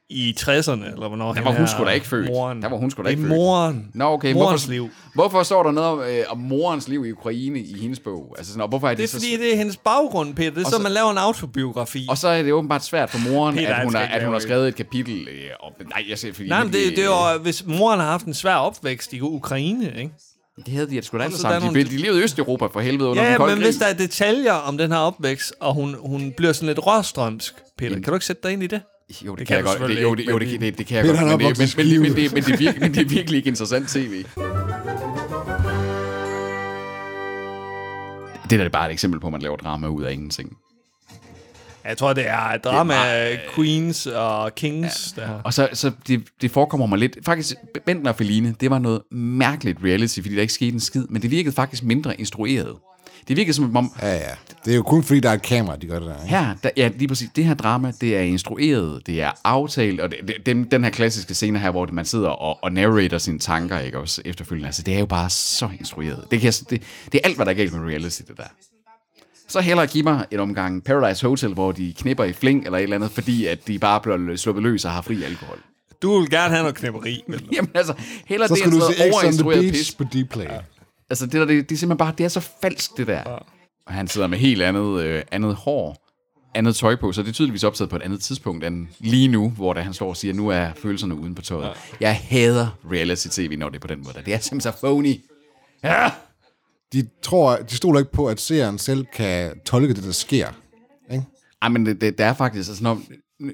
Speaker 4: i 60'erne, eller hvornår
Speaker 3: Der
Speaker 4: han
Speaker 3: var hun
Speaker 4: er
Speaker 3: sgu da ikke født.
Speaker 4: Moren.
Speaker 3: Der var hun sgu da
Speaker 4: Det er
Speaker 3: ikke født.
Speaker 4: moren.
Speaker 3: Nå, okay.
Speaker 4: Morens
Speaker 3: hvorfor,
Speaker 4: liv.
Speaker 3: Hvorfor står der noget om, øh, om morens liv i Ukraine i hendes bog? Altså sådan, og hvorfor er det,
Speaker 4: Det er
Speaker 3: så...
Speaker 4: fordi, det er hendes baggrund, Peter. Det er så,
Speaker 3: så-
Speaker 4: man laver en autobiografi.
Speaker 3: Og så er det åbenbart svært for moren,
Speaker 4: Peter,
Speaker 3: at
Speaker 4: han
Speaker 3: hun,
Speaker 4: skal
Speaker 3: har,
Speaker 4: ikke
Speaker 3: at hun
Speaker 4: lave
Speaker 3: har
Speaker 4: det.
Speaker 3: skrevet et kapitel. Øh, om, nej, jeg ser fordi...
Speaker 4: Nej, men det, det var, hvis moren har haft en svær opvækst i Ukraine, ikke?
Speaker 3: øh, Det havde de sgu da alle
Speaker 4: så
Speaker 3: sammen.
Speaker 4: der er
Speaker 3: De,
Speaker 4: nogle-
Speaker 3: be- de levede i Østeuropa for helvede under den
Speaker 4: Ja,
Speaker 3: kolde
Speaker 4: men
Speaker 3: krig.
Speaker 4: hvis der er detaljer om den her opvækst, og hun, hun bliver sådan lidt råstrømsk, Peter, kan du ikke sætte dig ind i det?
Speaker 3: Jo, det,
Speaker 4: Det
Speaker 3: kan
Speaker 4: kan
Speaker 3: jeg
Speaker 4: du
Speaker 3: godt. Det,
Speaker 4: selvfølgelig
Speaker 3: jo,
Speaker 4: ikke,
Speaker 3: det, jo, det,
Speaker 4: men
Speaker 3: det, det kan jeg
Speaker 2: Peter, han
Speaker 3: godt.
Speaker 2: er
Speaker 3: Men det, men,
Speaker 2: opvokset
Speaker 3: men,
Speaker 2: i
Speaker 3: men,
Speaker 2: Skive.
Speaker 3: men, det, men, det, er virkelig, men det er virkelig ikke interessant tv. Det der er bare et eksempel på, at man laver drama ud af ingenting.
Speaker 4: Jeg tror, det er drama det er meget, queens og kings, ja. der
Speaker 3: Og så, så det, det forekommer mig lidt... Faktisk, Benten og Feline, det var noget mærkeligt reality, fordi der ikke skete en skid, men det virkede faktisk mindre instrueret. Det virkede som om,
Speaker 2: Ja, ja. Det er jo kun fordi, der er et kamera, de gør det der, ikke?
Speaker 3: her, der, ja, lige præcis, det her drama, det er instrueret, det er aftalt, og det, det, den, den her klassiske scene her, hvor man sidder og, og narrater sine tanker, ikke også efterfølgende, altså det er jo bare så instrueret. Det, kan, jeg s- det, det er alt, hvad der er galt med reality, det der. Så hellere give mig et omgang Paradise Hotel, hvor de knipper i fling eller et eller andet, fordi at de bare bliver sluppet løs og har fri alkohol.
Speaker 4: Du vil gerne have noget knipperi. Men...
Speaker 3: Jamen altså, hellere
Speaker 2: Så
Speaker 3: det
Speaker 2: skal
Speaker 3: end
Speaker 2: du
Speaker 3: sådan
Speaker 2: se
Speaker 3: noget
Speaker 2: X on the
Speaker 3: overinstrueret
Speaker 2: Beach
Speaker 3: pis.
Speaker 2: på D-Play. Ja.
Speaker 3: Altså, det, der, det, det er simpelthen bare, det er så falsk, det der. Og han sidder med helt andet, øh, andet hår, andet tøj på, så det er tydeligvis optaget på et andet tidspunkt end lige nu, hvor da han står og siger, nu er følelserne uden på tøjet. Jeg hader reality-tv, når det er på den måde. Det er simpelthen så phony. Ja!
Speaker 2: De, tror, de stoler ikke på, at seeren selv kan tolke det, der sker. Ikke?
Speaker 3: Ej, men det, det, det er faktisk altså, når,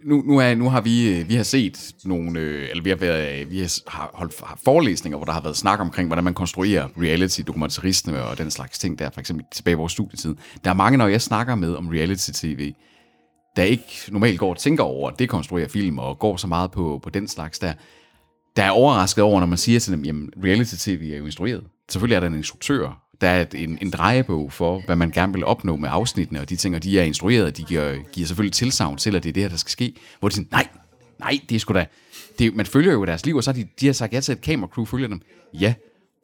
Speaker 3: nu, nu, er, nu har vi, øh, vi har set nogle, øh, eller vi har, været, øh, vi har s- har holdt har forelæsninger, hvor der har været snak omkring, hvordan man konstruerer reality, dokumentarisme og den slags ting der, for eksempel tilbage i vores studietid. Der er mange, når jeg snakker med om reality-tv, der ikke normalt går og tænker over, at det konstruerer film og går så meget på, på den slags der, der er overrasket over, når man siger til dem, jamen reality-tv er jo instrueret. Selvfølgelig er der en instruktør, der er et- en, en drejebog for, hvad man gerne vil opnå med afsnittene, og de ting, og de er instrueret, og de giver, giver selvfølgelig tilsavn til, at det er det her, der skal ske. Hvor de siger, nej, nej, det er sgu da... Det, er- man følger jo deres liv, og så har de, de har sagt ja til, at et kameracrew følger dem. Ja,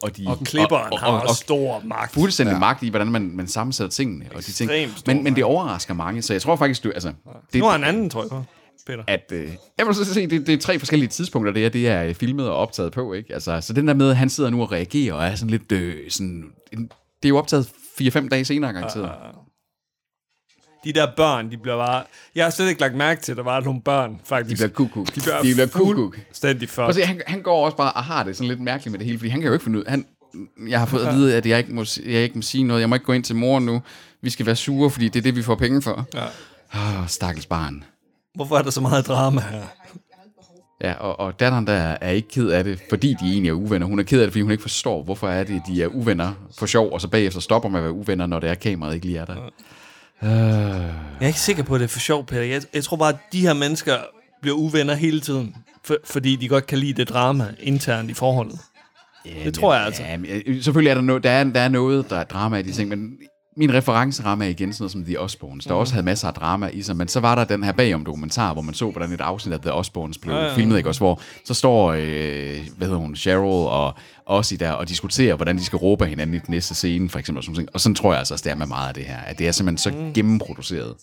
Speaker 3: og, de,
Speaker 4: Og klipperen og, og, har også stor magt.
Speaker 3: fuldstændig ja. magt i, hvordan man, man sammensætter tingene. Og de ting.
Speaker 4: Ekstremt stor
Speaker 3: men, men det overrasker mange, så jeg tror faktisk, du, altså, det,
Speaker 4: Nu har han anden, tror jeg. Peter.
Speaker 3: at øh, jeg vil så se, det, det er tre forskellige tidspunkter, det her det er øh, filmet og optaget på, ikke? Altså, så den der med, at han sidder nu og reagerer og er sådan lidt øh, sådan... En, det er jo optaget 4-5 dage senere, garanteret.
Speaker 4: Ah, De der børn, de bliver bare... Jeg har slet ikke lagt mærke til, at der var nogle børn,
Speaker 3: De
Speaker 4: faktisk.
Speaker 3: bliver kukuk. De
Speaker 4: bliver
Speaker 3: bliver kukuk.
Speaker 4: fuldstændig
Speaker 3: Og
Speaker 4: først.
Speaker 3: se, han, han går også bare og har det sådan lidt mærkeligt med det hele, fordi han kan jo ikke finde ud... Han, jeg har fået at vide, at jeg ikke, må, si- jeg ikke må sige noget. Jeg må ikke gå ind til mor nu. Vi skal være sure, fordi det er det, vi får penge for.
Speaker 4: Ja.
Speaker 3: Åh, stakkels barn.
Speaker 4: Hvorfor er der så meget drama her?
Speaker 3: Ja, og, og datteren der er ikke ked af det, fordi de egentlig er uvenner. Hun er ked af det, fordi hun ikke forstår, hvorfor er det, de er uvenner for sjov, og så bagefter stopper med at være uvenner, når det er kameraet ikke lige er der.
Speaker 4: Jeg er ikke sikker på, at det er for sjov, Peter. Jeg, jeg tror bare, at de her mennesker bliver uvenner hele tiden, for, fordi de godt kan lide det drama internt i forholdet.
Speaker 3: Jamen,
Speaker 4: tror jeg altså.
Speaker 3: Jamen, øh, selvfølgelig er der, no, der, er, der er noget, der er drama i de ting, men min referenceramme er igen sådan noget som The Osbournes, der også havde masser af drama i sig, men så var der den her bagom dokumentar, hvor man så, hvordan et afsnit af The Osbournes blev ja, ja. filmet, ikke også, hvor så står, øh, hvad hedder hun, Cheryl og Ozzy der og diskuterer, hvordan de skal råbe af hinanden i den næste scene, for eksempel, og sådan, nogle ting. og sådan tror jeg altså også, det er med meget af det her, at det er simpelthen så gennemproduceret.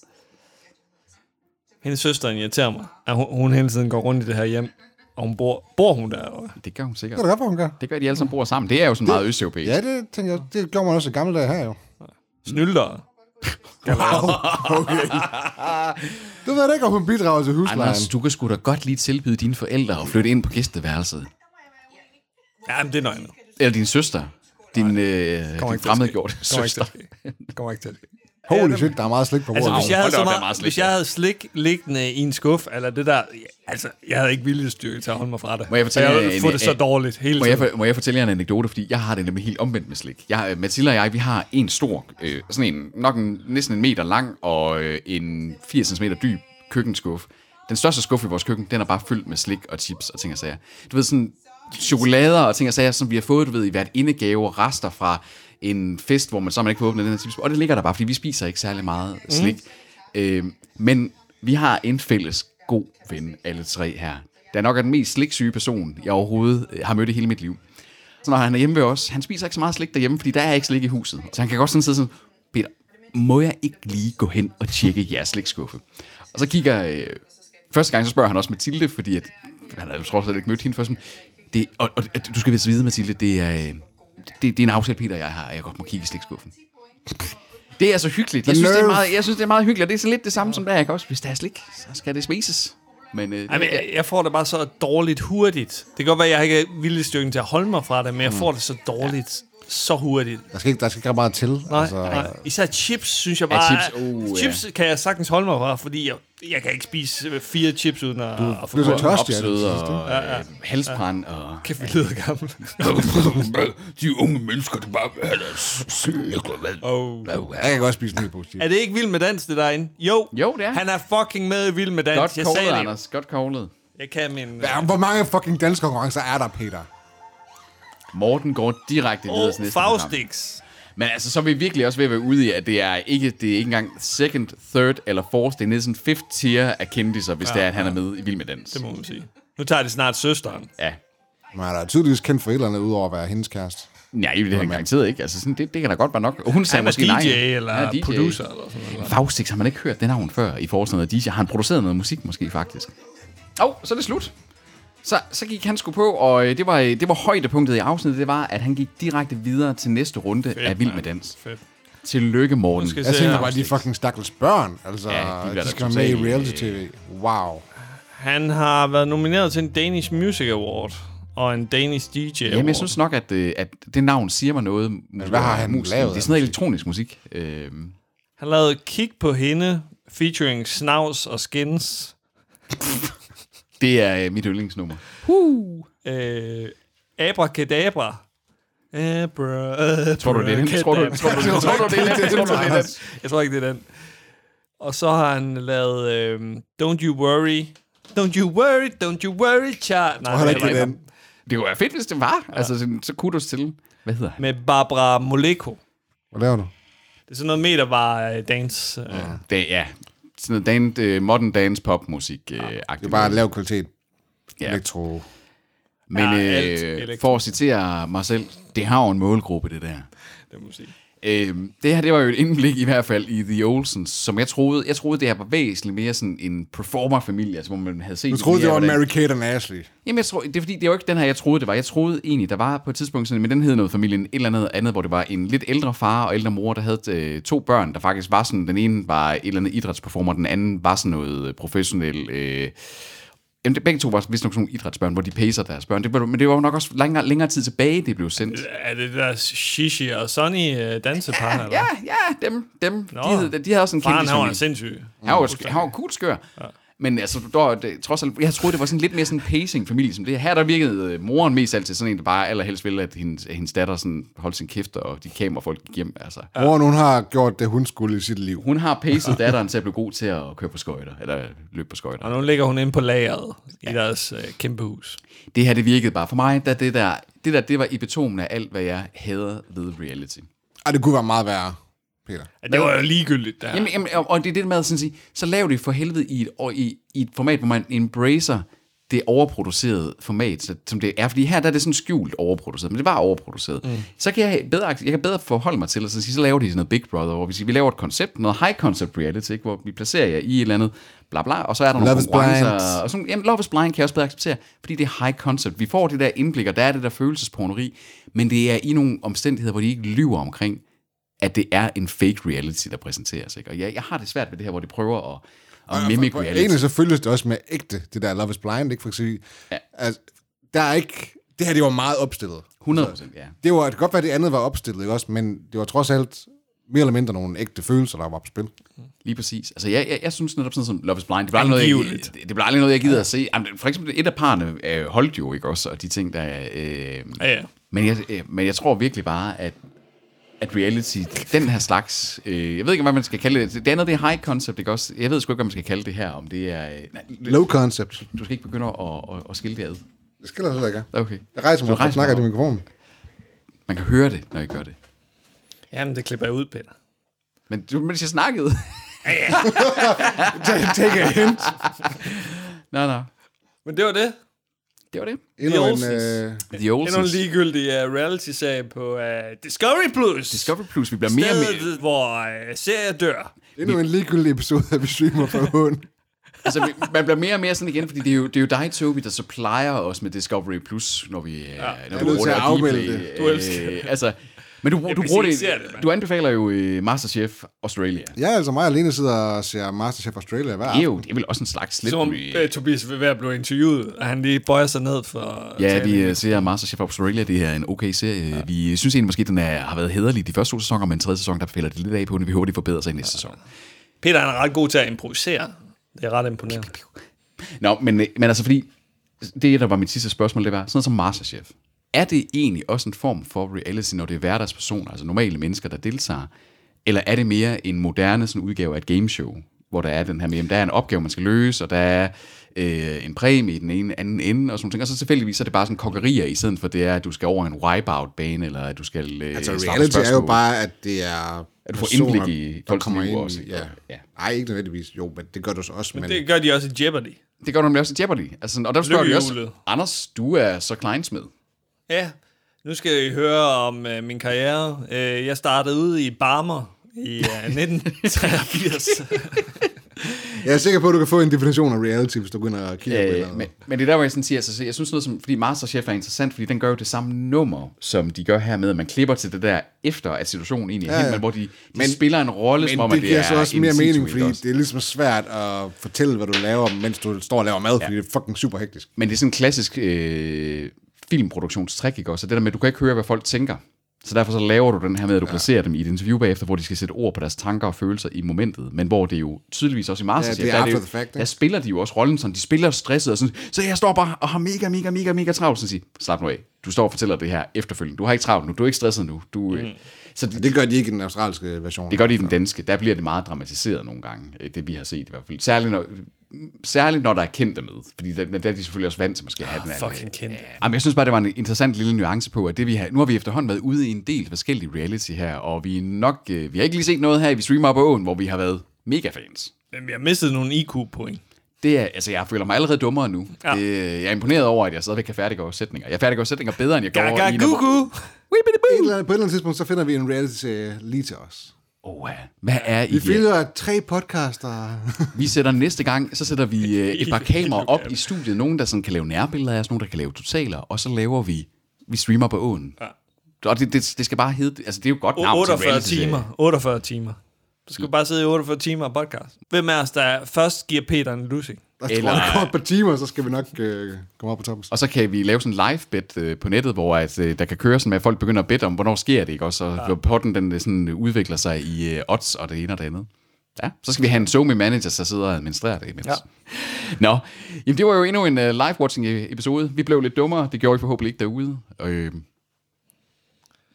Speaker 4: Hendes søster irriterer mig, at hun, hun hele tiden går rundt i det her hjem, og hun bor, bor hun der. eller?
Speaker 3: Det gør hun sikkert.
Speaker 2: Det er da godt, hvor hun gør.
Speaker 3: Det gør, at de alle sammen bor sammen. Det er jo sådan meget østeuropæisk.
Speaker 2: Ja, det tænker jeg. Det gjorde man også i gamle dage her, jo.
Speaker 4: Snylder.
Speaker 2: Du ved da ikke, om hun bidrager til huslejen.
Speaker 3: Anders, du kan sgu da godt lige tilbyde dine forældre at flytte ind på gæsteværelset.
Speaker 4: Ja, men det er nøgnet.
Speaker 3: Eller din søster. Din, øh, din
Speaker 4: ikke til at
Speaker 3: fremmedgjorte
Speaker 4: Kommer ikke til
Speaker 3: søster.
Speaker 4: at ske. Kommer ikke til at ske.
Speaker 2: Holy shit, der er meget slik på bordet.
Speaker 4: Altså,
Speaker 3: Wow.
Speaker 4: hvis jeg, havde
Speaker 3: Hold da
Speaker 4: så
Speaker 3: op, der er
Speaker 4: meget,
Speaker 3: meget slik
Speaker 4: hvis jeg
Speaker 3: der.
Speaker 4: havde slik liggende i en skuff, eller det der, altså, jeg havde ikke viljestyrke til at holde mig fra det.
Speaker 3: Må jeg fortælle
Speaker 4: jeg ville
Speaker 3: en-
Speaker 4: få det så
Speaker 3: en-
Speaker 4: dårligt hele
Speaker 3: Må jeg,
Speaker 4: tiden.
Speaker 3: for- må jeg fortælle jer en anekdote, fordi jeg har det nemlig helt omvendt med slik. Jeg, øh, Mathilde og jeg, vi har en stor, øh, sådan en, nok en, næsten en meter lang og øh, en 80 cm dyb køkkenskuffe. Den største skuffe i vores køkken, den er bare fyldt med slik og chips og ting og sager. Du ved sådan chokolader og ting og sager, som vi har fået, du ved, i hvert indegave og rester fra en fest, hvor man så man ikke får åbnet den her chips. Og det ligger der bare, fordi vi spiser ikke særlig meget slik.
Speaker 4: Mhm.
Speaker 3: Mm. Øh, men vi har en fælles god ven, alle tre her. Der nok er den mest sliksyge person, jeg overhovedet øh, har mødt i hele mit liv. Så når han er hjemme ved os, han spiser ikke så meget slik derhjemme, fordi der er ikke slik i huset. Så han kan godt sådan sidde sådan, Peter, må jeg ikke lige gå hen og tjekke jeres slikskuffe? Og så kigger, øh, første gang så spørger han også Mathilde, fordi at, han havde jo trods alt ikke mødt hende før. Sådan, det, og, og, at du skal vist vide, Mathilde, det er, øh, det, det er en aftale, Peter og jeg har, at jeg godt må kigge i slikskuffen. Det er så hyggeligt. Jeg synes, det er
Speaker 2: nerve.
Speaker 3: meget, jeg synes, det er meget hyggeligt, og det er så lidt det samme som der, ikke også? Hvis der er slik, så skal det spises. Men, øh,
Speaker 4: Jamen, jeg, jeg får det bare så dårligt hurtigt. Det kan godt være, at jeg ikke har viljestyrken til at holde mig fra det,
Speaker 3: Hmm.
Speaker 4: men jeg får det så dårligt så hurtigt.
Speaker 2: Der skal ikke, der skal ikke ret meget til.
Speaker 4: Nej,
Speaker 2: altså,
Speaker 4: altså, nej. Især chips, synes jeg
Speaker 3: Ja,
Speaker 4: bare...
Speaker 3: chips, uh,
Speaker 4: chips kan jeg sagtens holde mig fra, fordi jeg, jeg kan ikke spise øh, fire chips uden at, du, at få
Speaker 2: du er så
Speaker 4: kogt.
Speaker 2: tør. Tosti er det
Speaker 3: opsød
Speaker 2: sidste, ikke?
Speaker 3: og øh, halsbrand og...
Speaker 4: Kæft, vi lyder gammel.
Speaker 3: De unge mennesker, det bare er
Speaker 4: Oh.
Speaker 2: øh, Jeg kan godt spise en ny pose chips.
Speaker 4: Er det ikke Vild med Dans, det derinde? Jo,
Speaker 3: Jo, det er.
Speaker 4: han er fucking med i Vild med Dans.
Speaker 3: Godt
Speaker 4: jeg
Speaker 3: koglet,
Speaker 4: sagde det.
Speaker 3: Anders. Godt koglet.
Speaker 4: Jeg kan min... øh,
Speaker 2: Ja, hvor mange fucking danske konkurrencer er der, Peter?
Speaker 3: Morten går direkte videre til
Speaker 4: Oh,
Speaker 3: næste program.
Speaker 4: Faustix.
Speaker 3: Men altså, så er vi virkelig også ved at være ude i, at det er ikke, det er ikke engang second, third eller fourth. Det er næsten fifth tier af kendtiser, hvis ja, det er, at han er med i Vild med Dans.
Speaker 4: Det må man sige. Nu tager de snart søsteren.
Speaker 3: Ja.
Speaker 2: Man er da tydeligvis kendt for et eller andet, udover at være hendes kæreste.
Speaker 3: Nej, det er han garanteret ikke. Altså, sådan, det, det kan da godt være nok. Hun sagde
Speaker 4: Han er
Speaker 3: måske
Speaker 4: DJ
Speaker 3: nej.
Speaker 4: eller
Speaker 3: Han er DJ.
Speaker 4: producer eller sådan noget.
Speaker 3: Faustix har man ikke hørt det navn før i forhold til noget DJ. Har han produceret noget musik måske faktisk? Åh, oh, så er det slut. Så, så gik han sgu på, og øh, det var, øh, det var højdepunktet i afsnittet, det var, at han gik direkte videre til næste runde Fedt, af Vild med Dans.
Speaker 4: Fedt.
Speaker 3: Tillykke, Morten.
Speaker 4: skal
Speaker 2: Jeg
Speaker 4: Det
Speaker 2: tænker
Speaker 4: er
Speaker 2: bare, de fucking stakkels børn. Altså,
Speaker 3: Ja, de
Speaker 2: ja,
Speaker 3: bliver
Speaker 2: de,
Speaker 3: da
Speaker 2: de skal være med i
Speaker 3: totalt-
Speaker 2: reality-tv. Wow.
Speaker 4: Han har været nomineret til en Danish Music Award og en Danish DJ Award.
Speaker 3: Jamen, jeg synes nok, at, øh, at det navn siger mig noget. Men
Speaker 2: hvad har han lavet
Speaker 3: Det er
Speaker 2: af
Speaker 3: sådan noget
Speaker 2: musik?
Speaker 3: elektronisk musik. Øh,
Speaker 4: Han lavede Kig på hende, featuring Snavs og Skins.
Speaker 3: det er øh, mit yndlingsnummer.
Speaker 4: Øh, Abracadabra. Abra,
Speaker 3: Tror du, det er den? Tror du, tror du, tror du, tror du det er den? Tror du, det er den?
Speaker 4: Jeg tror ikke, det er den. Og så har han lavet øh, Don't You Worry. Don't you worry, don't you worry, child. Nej,
Speaker 2: Heller
Speaker 4: det er
Speaker 2: ikke det
Speaker 4: ikke
Speaker 2: den.
Speaker 3: Det kunne være fedt, hvis det var. Altså, sådan, så kudos til. Hvad hedder han?
Speaker 4: Med Barbara Moleko.
Speaker 2: Hvad laver du?
Speaker 4: Det er sådan noget meter var øh, dance. Øh.
Speaker 3: Det, ja, sådan noget dan, øh, modern dance pop musik øh, ja,
Speaker 2: Det er bare lav kvalitet.
Speaker 3: Ja.
Speaker 2: Elektro.
Speaker 3: Men
Speaker 4: Ja, alt
Speaker 3: øh,
Speaker 4: elektro.
Speaker 3: for at citere mig selv, det har jo en målgruppe, det der.
Speaker 4: Det må man sige.
Speaker 3: Øhm, det her, det var jo et indblik i hvert fald i The Olsens, som jeg troede, jeg troede, det her var væsentligt mere sådan en performer-familie, altså, hvor man havde set...
Speaker 2: Du troede,
Speaker 3: mere,
Speaker 2: det var en
Speaker 3: hvordan-
Speaker 2: Mary-Kate og Ashley.
Speaker 3: Jamen, jeg tror, det er fordi, det er jo ikke den her, jeg troede, det var. Jeg troede egentlig, der var på et tidspunkt sådan, men den hed noget familien, et eller andet andet, hvor det var en lidt ældre far og ældre mor, der havde øh, to børn, der faktisk var sådan, den ene var et eller andet idrætsperformer, den anden var sådan noget øh, professionel... Øh, Jamen, det, begge to var vist nok sådan nogle idrætsbørn, hvor de pacer deres børn. Det, var- men det var jo nok også længere, længere tid tilbage, det blev sendt.
Speaker 4: Er det der Shishi og Sonny øh, dansepar? eller?
Speaker 3: Ja, ja, dem, dem.
Speaker 4: Nå.
Speaker 3: De, havde, de havde også en
Speaker 4: Faren,
Speaker 3: kendis.
Speaker 4: han var sindssyg.
Speaker 3: Han var, sk- han var cool skør. Ja. Men altså, der, var det, trods alt, jeg troede, det var sådan lidt mere sådan en pacing-familie. Som det. Her der virkede øh, moren mest altid sådan en, der bare allerhelst ville, at hendes, at hendes datter sådan holdt sin kæft, og de kamerafolk gik hjem. Altså.
Speaker 2: Moren, hun har gjort det, hun skulle i sit liv.
Speaker 3: Hun har pacet datteren til at blive god til at køre på skøjter, eller løbe på skøjter.
Speaker 4: Og nu ligger hun inde på lageret i deres øh, kæmpe hus.
Speaker 3: Det her, det virkede bare for mig, da det der, det der, det var epitomen af alt, hvad jeg hader ved reality.
Speaker 2: Ej, det kunne være meget værre, Peter.
Speaker 4: Ja, det var jo ligegyldigt der.
Speaker 3: Jamen, jamen, og- og det er det med at sådan sige, så lav det for helvede i et, og i, i et format, hvor man embracer det overproducerede format, så- som det er. Fordi her der er det sådan skjult overproduceret, men det var overproduceret. Mm. Så kan jeg bedre, jeg kan bedre forholde mig til, at så, sige, så laver de sådan noget Big Brother, hvor vi siger, vi laver et koncept, noget high concept reality, ikke? hvor vi placerer jer i et eller andet bla bla, og så er der
Speaker 2: Love
Speaker 3: nogle
Speaker 2: is
Speaker 3: konkurrencer.
Speaker 2: blind.
Speaker 3: Og sådan, jamen, Love is Blind kan jeg også bedre acceptere, fordi det er high concept. Vi får det der indblik, og der er det der følelsesporneri, men det er i nogle omstændigheder, hvor de ikke lyver omkring, at det er en fake reality, der præsenteres. Ikke? Og jeg, jeg har det svært ved det her, hvor de prøver at, at mimic
Speaker 2: For
Speaker 3: reality.
Speaker 2: egentlig så følges det også med ægte, det der Love is Blind, ikke? For at sige, ja. altså, der er ikke... Det her, det var meget opstillet.
Speaker 3: 100 ja.
Speaker 2: Det, var, det kan godt være, at det andet var opstillet, ikke også? Men det var trods alt mere eller mindre nogle ægte følelser, der var på spil.
Speaker 3: Lige præcis. Altså, jeg, jeg, jeg synes netop sådan som Love is Blind, det bliver aldrig, noget, jeg,
Speaker 4: Angiveligt.
Speaker 3: det, det bliver aldrig noget, jeg gider at se. Jamen, for eksempel, et af parerne øh, holdt jo, ikke også? Og de ting, der... Øh,
Speaker 4: Ja, ja.
Speaker 3: men, jeg, øh, men jeg tror virkelig bare, at at reality, den her slags, øh, jeg ved ikke, hvad man skal kalde det. Det andet, det er high concept, ikke også? Jeg ved sgu ikke, hvad man skal kalde det her, om det er... Øh, nej,
Speaker 2: Low concept.
Speaker 3: du skal ikke begynde at, at, at, at skille det ad.
Speaker 2: Det skal der slet ikke.
Speaker 3: Okay.
Speaker 2: Jeg rejser
Speaker 3: Du
Speaker 2: mig, og
Speaker 3: rejser
Speaker 2: snakker
Speaker 3: mig
Speaker 2: til
Speaker 3: op.
Speaker 2: mikrofonen.
Speaker 3: Man kan høre det, når I gør det.
Speaker 4: Jamen, det klipper jeg ud, Peter.
Speaker 3: Men du, mens jeg snakkede...
Speaker 2: Take a hint.
Speaker 3: nej, nej.
Speaker 4: Men det var det.
Speaker 3: Det var det.
Speaker 2: Endnu en,
Speaker 4: Olsens.
Speaker 2: øh,
Speaker 3: The
Speaker 4: Endnu en
Speaker 3: Olsens.
Speaker 4: ligegyldig uh, reality-serie på uh, Discovery Plus.
Speaker 3: Discovery Plus, vi bliver mere og mere...
Speaker 4: Stedet, hvor uh, serier dør.
Speaker 2: endnu en ligegyldig episode af Vi streamer for hunden.
Speaker 3: altså, vi- man bliver mere og mere sådan igen, fordi det er jo, det er jo dig, Tobi, der supplier os med Discovery Plus, når vi, ja, når
Speaker 2: nødt til at afmelde
Speaker 3: Dplay.
Speaker 2: det.
Speaker 4: Du elsker det.
Speaker 3: Øh, altså, men du, du,
Speaker 4: hvis
Speaker 3: bruger
Speaker 4: I ikke
Speaker 3: det,
Speaker 4: ser det, mand.
Speaker 3: du anbefaler jo øh, Masterchef Australia.
Speaker 2: Jeg er altså mig alene sidder og ser Masterchef Australia hver
Speaker 3: Det er
Speaker 2: aften.
Speaker 3: jo det er vel også en slags slip.
Speaker 4: Som om
Speaker 3: vi-
Speaker 4: uh, Tobias vil være blevet interviewet, og han lige bøjer sig ned for...
Speaker 3: Ja,
Speaker 4: talen.
Speaker 3: vi øh, ser Masterchef Australia. Det er en okay serie. Ja. Vi synes egentlig måske, den er, har været hederlig de første to sæsoner, men tredje sæson, der falder det lidt af på, når vi hurtigt forbedrer sig i næste sæson.
Speaker 4: Peter han er ret god til at improvisere. Det er ret imponerende.
Speaker 3: Nå, men, øh, men altså fordi, det der var mit sidste spørgsmål, det var sådan noget som Masterchef. Er det egentlig også en form for reality, når det er hverdagspersoner, altså normale mennesker, der deltager? Eller er det mere en moderne sådan, udgave af et gameshow, hvor der er den her med, jamen, der er en opgave, man skal løse, og der er øh, en præmie i den ene anden ende, og sådan nogle ting. Og så tilfældigvis så er det bare sådan kokkerier, i stedet for det er, at du skal over en wipeout-bane, eller at du skal øh,
Speaker 2: Altså,
Speaker 3: svare på
Speaker 2: reality er jo
Speaker 3: spørgsmål.
Speaker 2: bare, at det er
Speaker 3: At du får
Speaker 2: personer,
Speaker 3: indblik i
Speaker 2: der
Speaker 3: folks
Speaker 2: kommer
Speaker 3: liv
Speaker 2: ind
Speaker 3: også,
Speaker 2: i-
Speaker 3: ikke?
Speaker 2: Ja.
Speaker 3: Ja.
Speaker 2: Nej, ikke nødvendigvis. Jo, men det gør du så også. Men,
Speaker 4: Det gør de også i Jeopardy.
Speaker 3: Det gør du nemlig også i Jeopardy. Altså, sådan- og der spørger vi også,
Speaker 4: Lykkehjulet.
Speaker 3: Anders, du er så kleinsmed.
Speaker 4: Ja, nu skal I høre om øh, min karriere. Øh, jeg startede ude i Barmer i øh, 1983.
Speaker 2: Jeg er sikker på, at du kan få en definition af reality, hvis du begynder at kigge på
Speaker 3: Øh,
Speaker 2: det.
Speaker 3: men, men det er der, hvor jeg sådan siger, altså, så jeg synes noget som, fordi Masterchef er interessant, fordi den gør jo det samme nummer, som de gør her med, at man klipper til det der efter, at situationen egentlig er ja,
Speaker 2: ja.
Speaker 3: hen, men hvor de, de men,
Speaker 2: Men-
Speaker 3: spiller en rolle, som om,
Speaker 2: Men det
Speaker 3: at
Speaker 2: giver
Speaker 3: er
Speaker 2: så også
Speaker 3: in
Speaker 2: mere
Speaker 3: situ,
Speaker 2: mening,
Speaker 3: ikke
Speaker 2: fordi
Speaker 3: også?
Speaker 2: det er ligesom svært at fortælle, hvad du laver, mens du står og laver mad, ja. fordi det er fucking super hektisk.
Speaker 3: Men det er sådan en klassisk øh, filmproduktionstrik, ikke også? Så det der med, at du kan ikke høre, hvad folk tænker. Så derfor så laver du den her med, at du ja. placerer dem i et interview bagefter, hvor de skal sætte ord på deres tanker og følelser i momentet. Men hvor det jo tydeligvis også i Masterchef,
Speaker 2: Ja, det er
Speaker 3: der,
Speaker 2: after
Speaker 3: jo,
Speaker 2: the fact, ikke?
Speaker 3: der spiller de jo også rollen sådan, de spiller stresset og sådan, så jeg står bare og har mega, mega, mega, mega travlt. Så siger, slap nu af, du står og fortæller det her efterfølgende. Du har ikke travlt nu, du er ikke stresset nu. Du, mm.
Speaker 2: Mhm.
Speaker 3: Så det,
Speaker 2: Men det gør de ikke i den australske version.
Speaker 3: det gør det i den danske. Der bliver det meget dramatiseret nogle gange, øh, det vi har set i hvert fald. Særligt når, særligt når der er kendte med. Fordi der, der er de selvfølgelig også vant til måske at
Speaker 2: Ah,
Speaker 3: have den her-
Speaker 4: Fucking kendt.
Speaker 3: Jamen, jeg synes bare, det var en interessant lille nuance på, at det vi har, nu har vi efterhånden været ude i en del forskellige reality her, og vi er nok, øh, vi har ikke lige set noget her, vi streamer på åen, hvor vi har været mega fans.
Speaker 4: Men jeg mistede nogle IQ-point.
Speaker 3: det er, altså, jeg føler mig allerede dummere nu.
Speaker 4: Ja.
Speaker 3: Ja. Det, jeg er imponeret over, at jeg stadigvæk kan færdiggøre sætninger. Jeg færdiggør sætninger bedre, end jeg gjorde
Speaker 4: Gaga
Speaker 3: i...
Speaker 4: gugu.
Speaker 2: Et eller andet, på et eller andet tidspunkt, så finder vi en reality-serie lige til os.
Speaker 3: Oh, hvad er I
Speaker 2: Vi
Speaker 3: det?
Speaker 2: finder tre podcaster.
Speaker 3: Vi sætter næste gang, så sætter vi øh, et par kameraer op i studiet. Nogen, der sådan kan lave nærbilleder af os, nogen, der kan lave totaler, og så laver vi, vi streamer på åen. Ja. Og det, det, det, skal bare hedde, altså det er jo et godt navn til en
Speaker 4: 48
Speaker 3: reality-serie.
Speaker 4: timer. 48 timer. Du skal bare sidde i 48 timer og podcast. Hvem er os, der først giver Peter en lussing?
Speaker 2: Der
Speaker 3: Eller-
Speaker 2: tror jeg går et par timer, så skal vi nok øh, komme op på toppen.
Speaker 3: Og så kan vi lave sådan en live bet øh, på nettet, hvor at, øh, der kan køre sådan med, at folk begynder at bette om, hvornår sker det, ikke? Og så ja. potten den øh, sådan udvikler sig i øh, odds og det ene og det andet. Ja, så skal vi have en somi manager, der sidder og administrerer det imens. Ja. Nå, jamen det var jo endnu en øh, live-watching øh, episode. Vi blev lidt dummere, det gjorde I forhåbentlig ikke derude. Øh,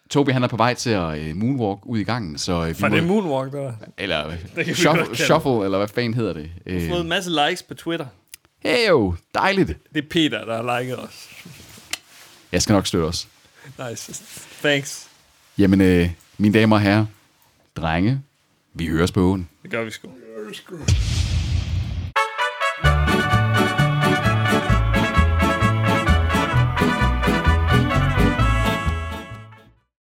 Speaker 3: Tobi han er på vej til at øh, moonwalk ud i gangen, så øh, vi
Speaker 4: For det er
Speaker 3: må,
Speaker 4: moonwalk, der er.
Speaker 3: eller øh,
Speaker 4: vi godt
Speaker 3: shuffle,
Speaker 4: kalde det.
Speaker 3: shuffle, eller hvad fanden hedder det? Øh,
Speaker 4: fået en masse likes på Twitter.
Speaker 3: hey jo, dejligt.
Speaker 4: Det er Peter, der har liket os.
Speaker 3: Jeg skal nok støtte os.
Speaker 4: Nice. Thanks.
Speaker 3: Jamen, øh, mine damer og herrer, drenge, vi høres på åen.
Speaker 4: Det gør vi sgu.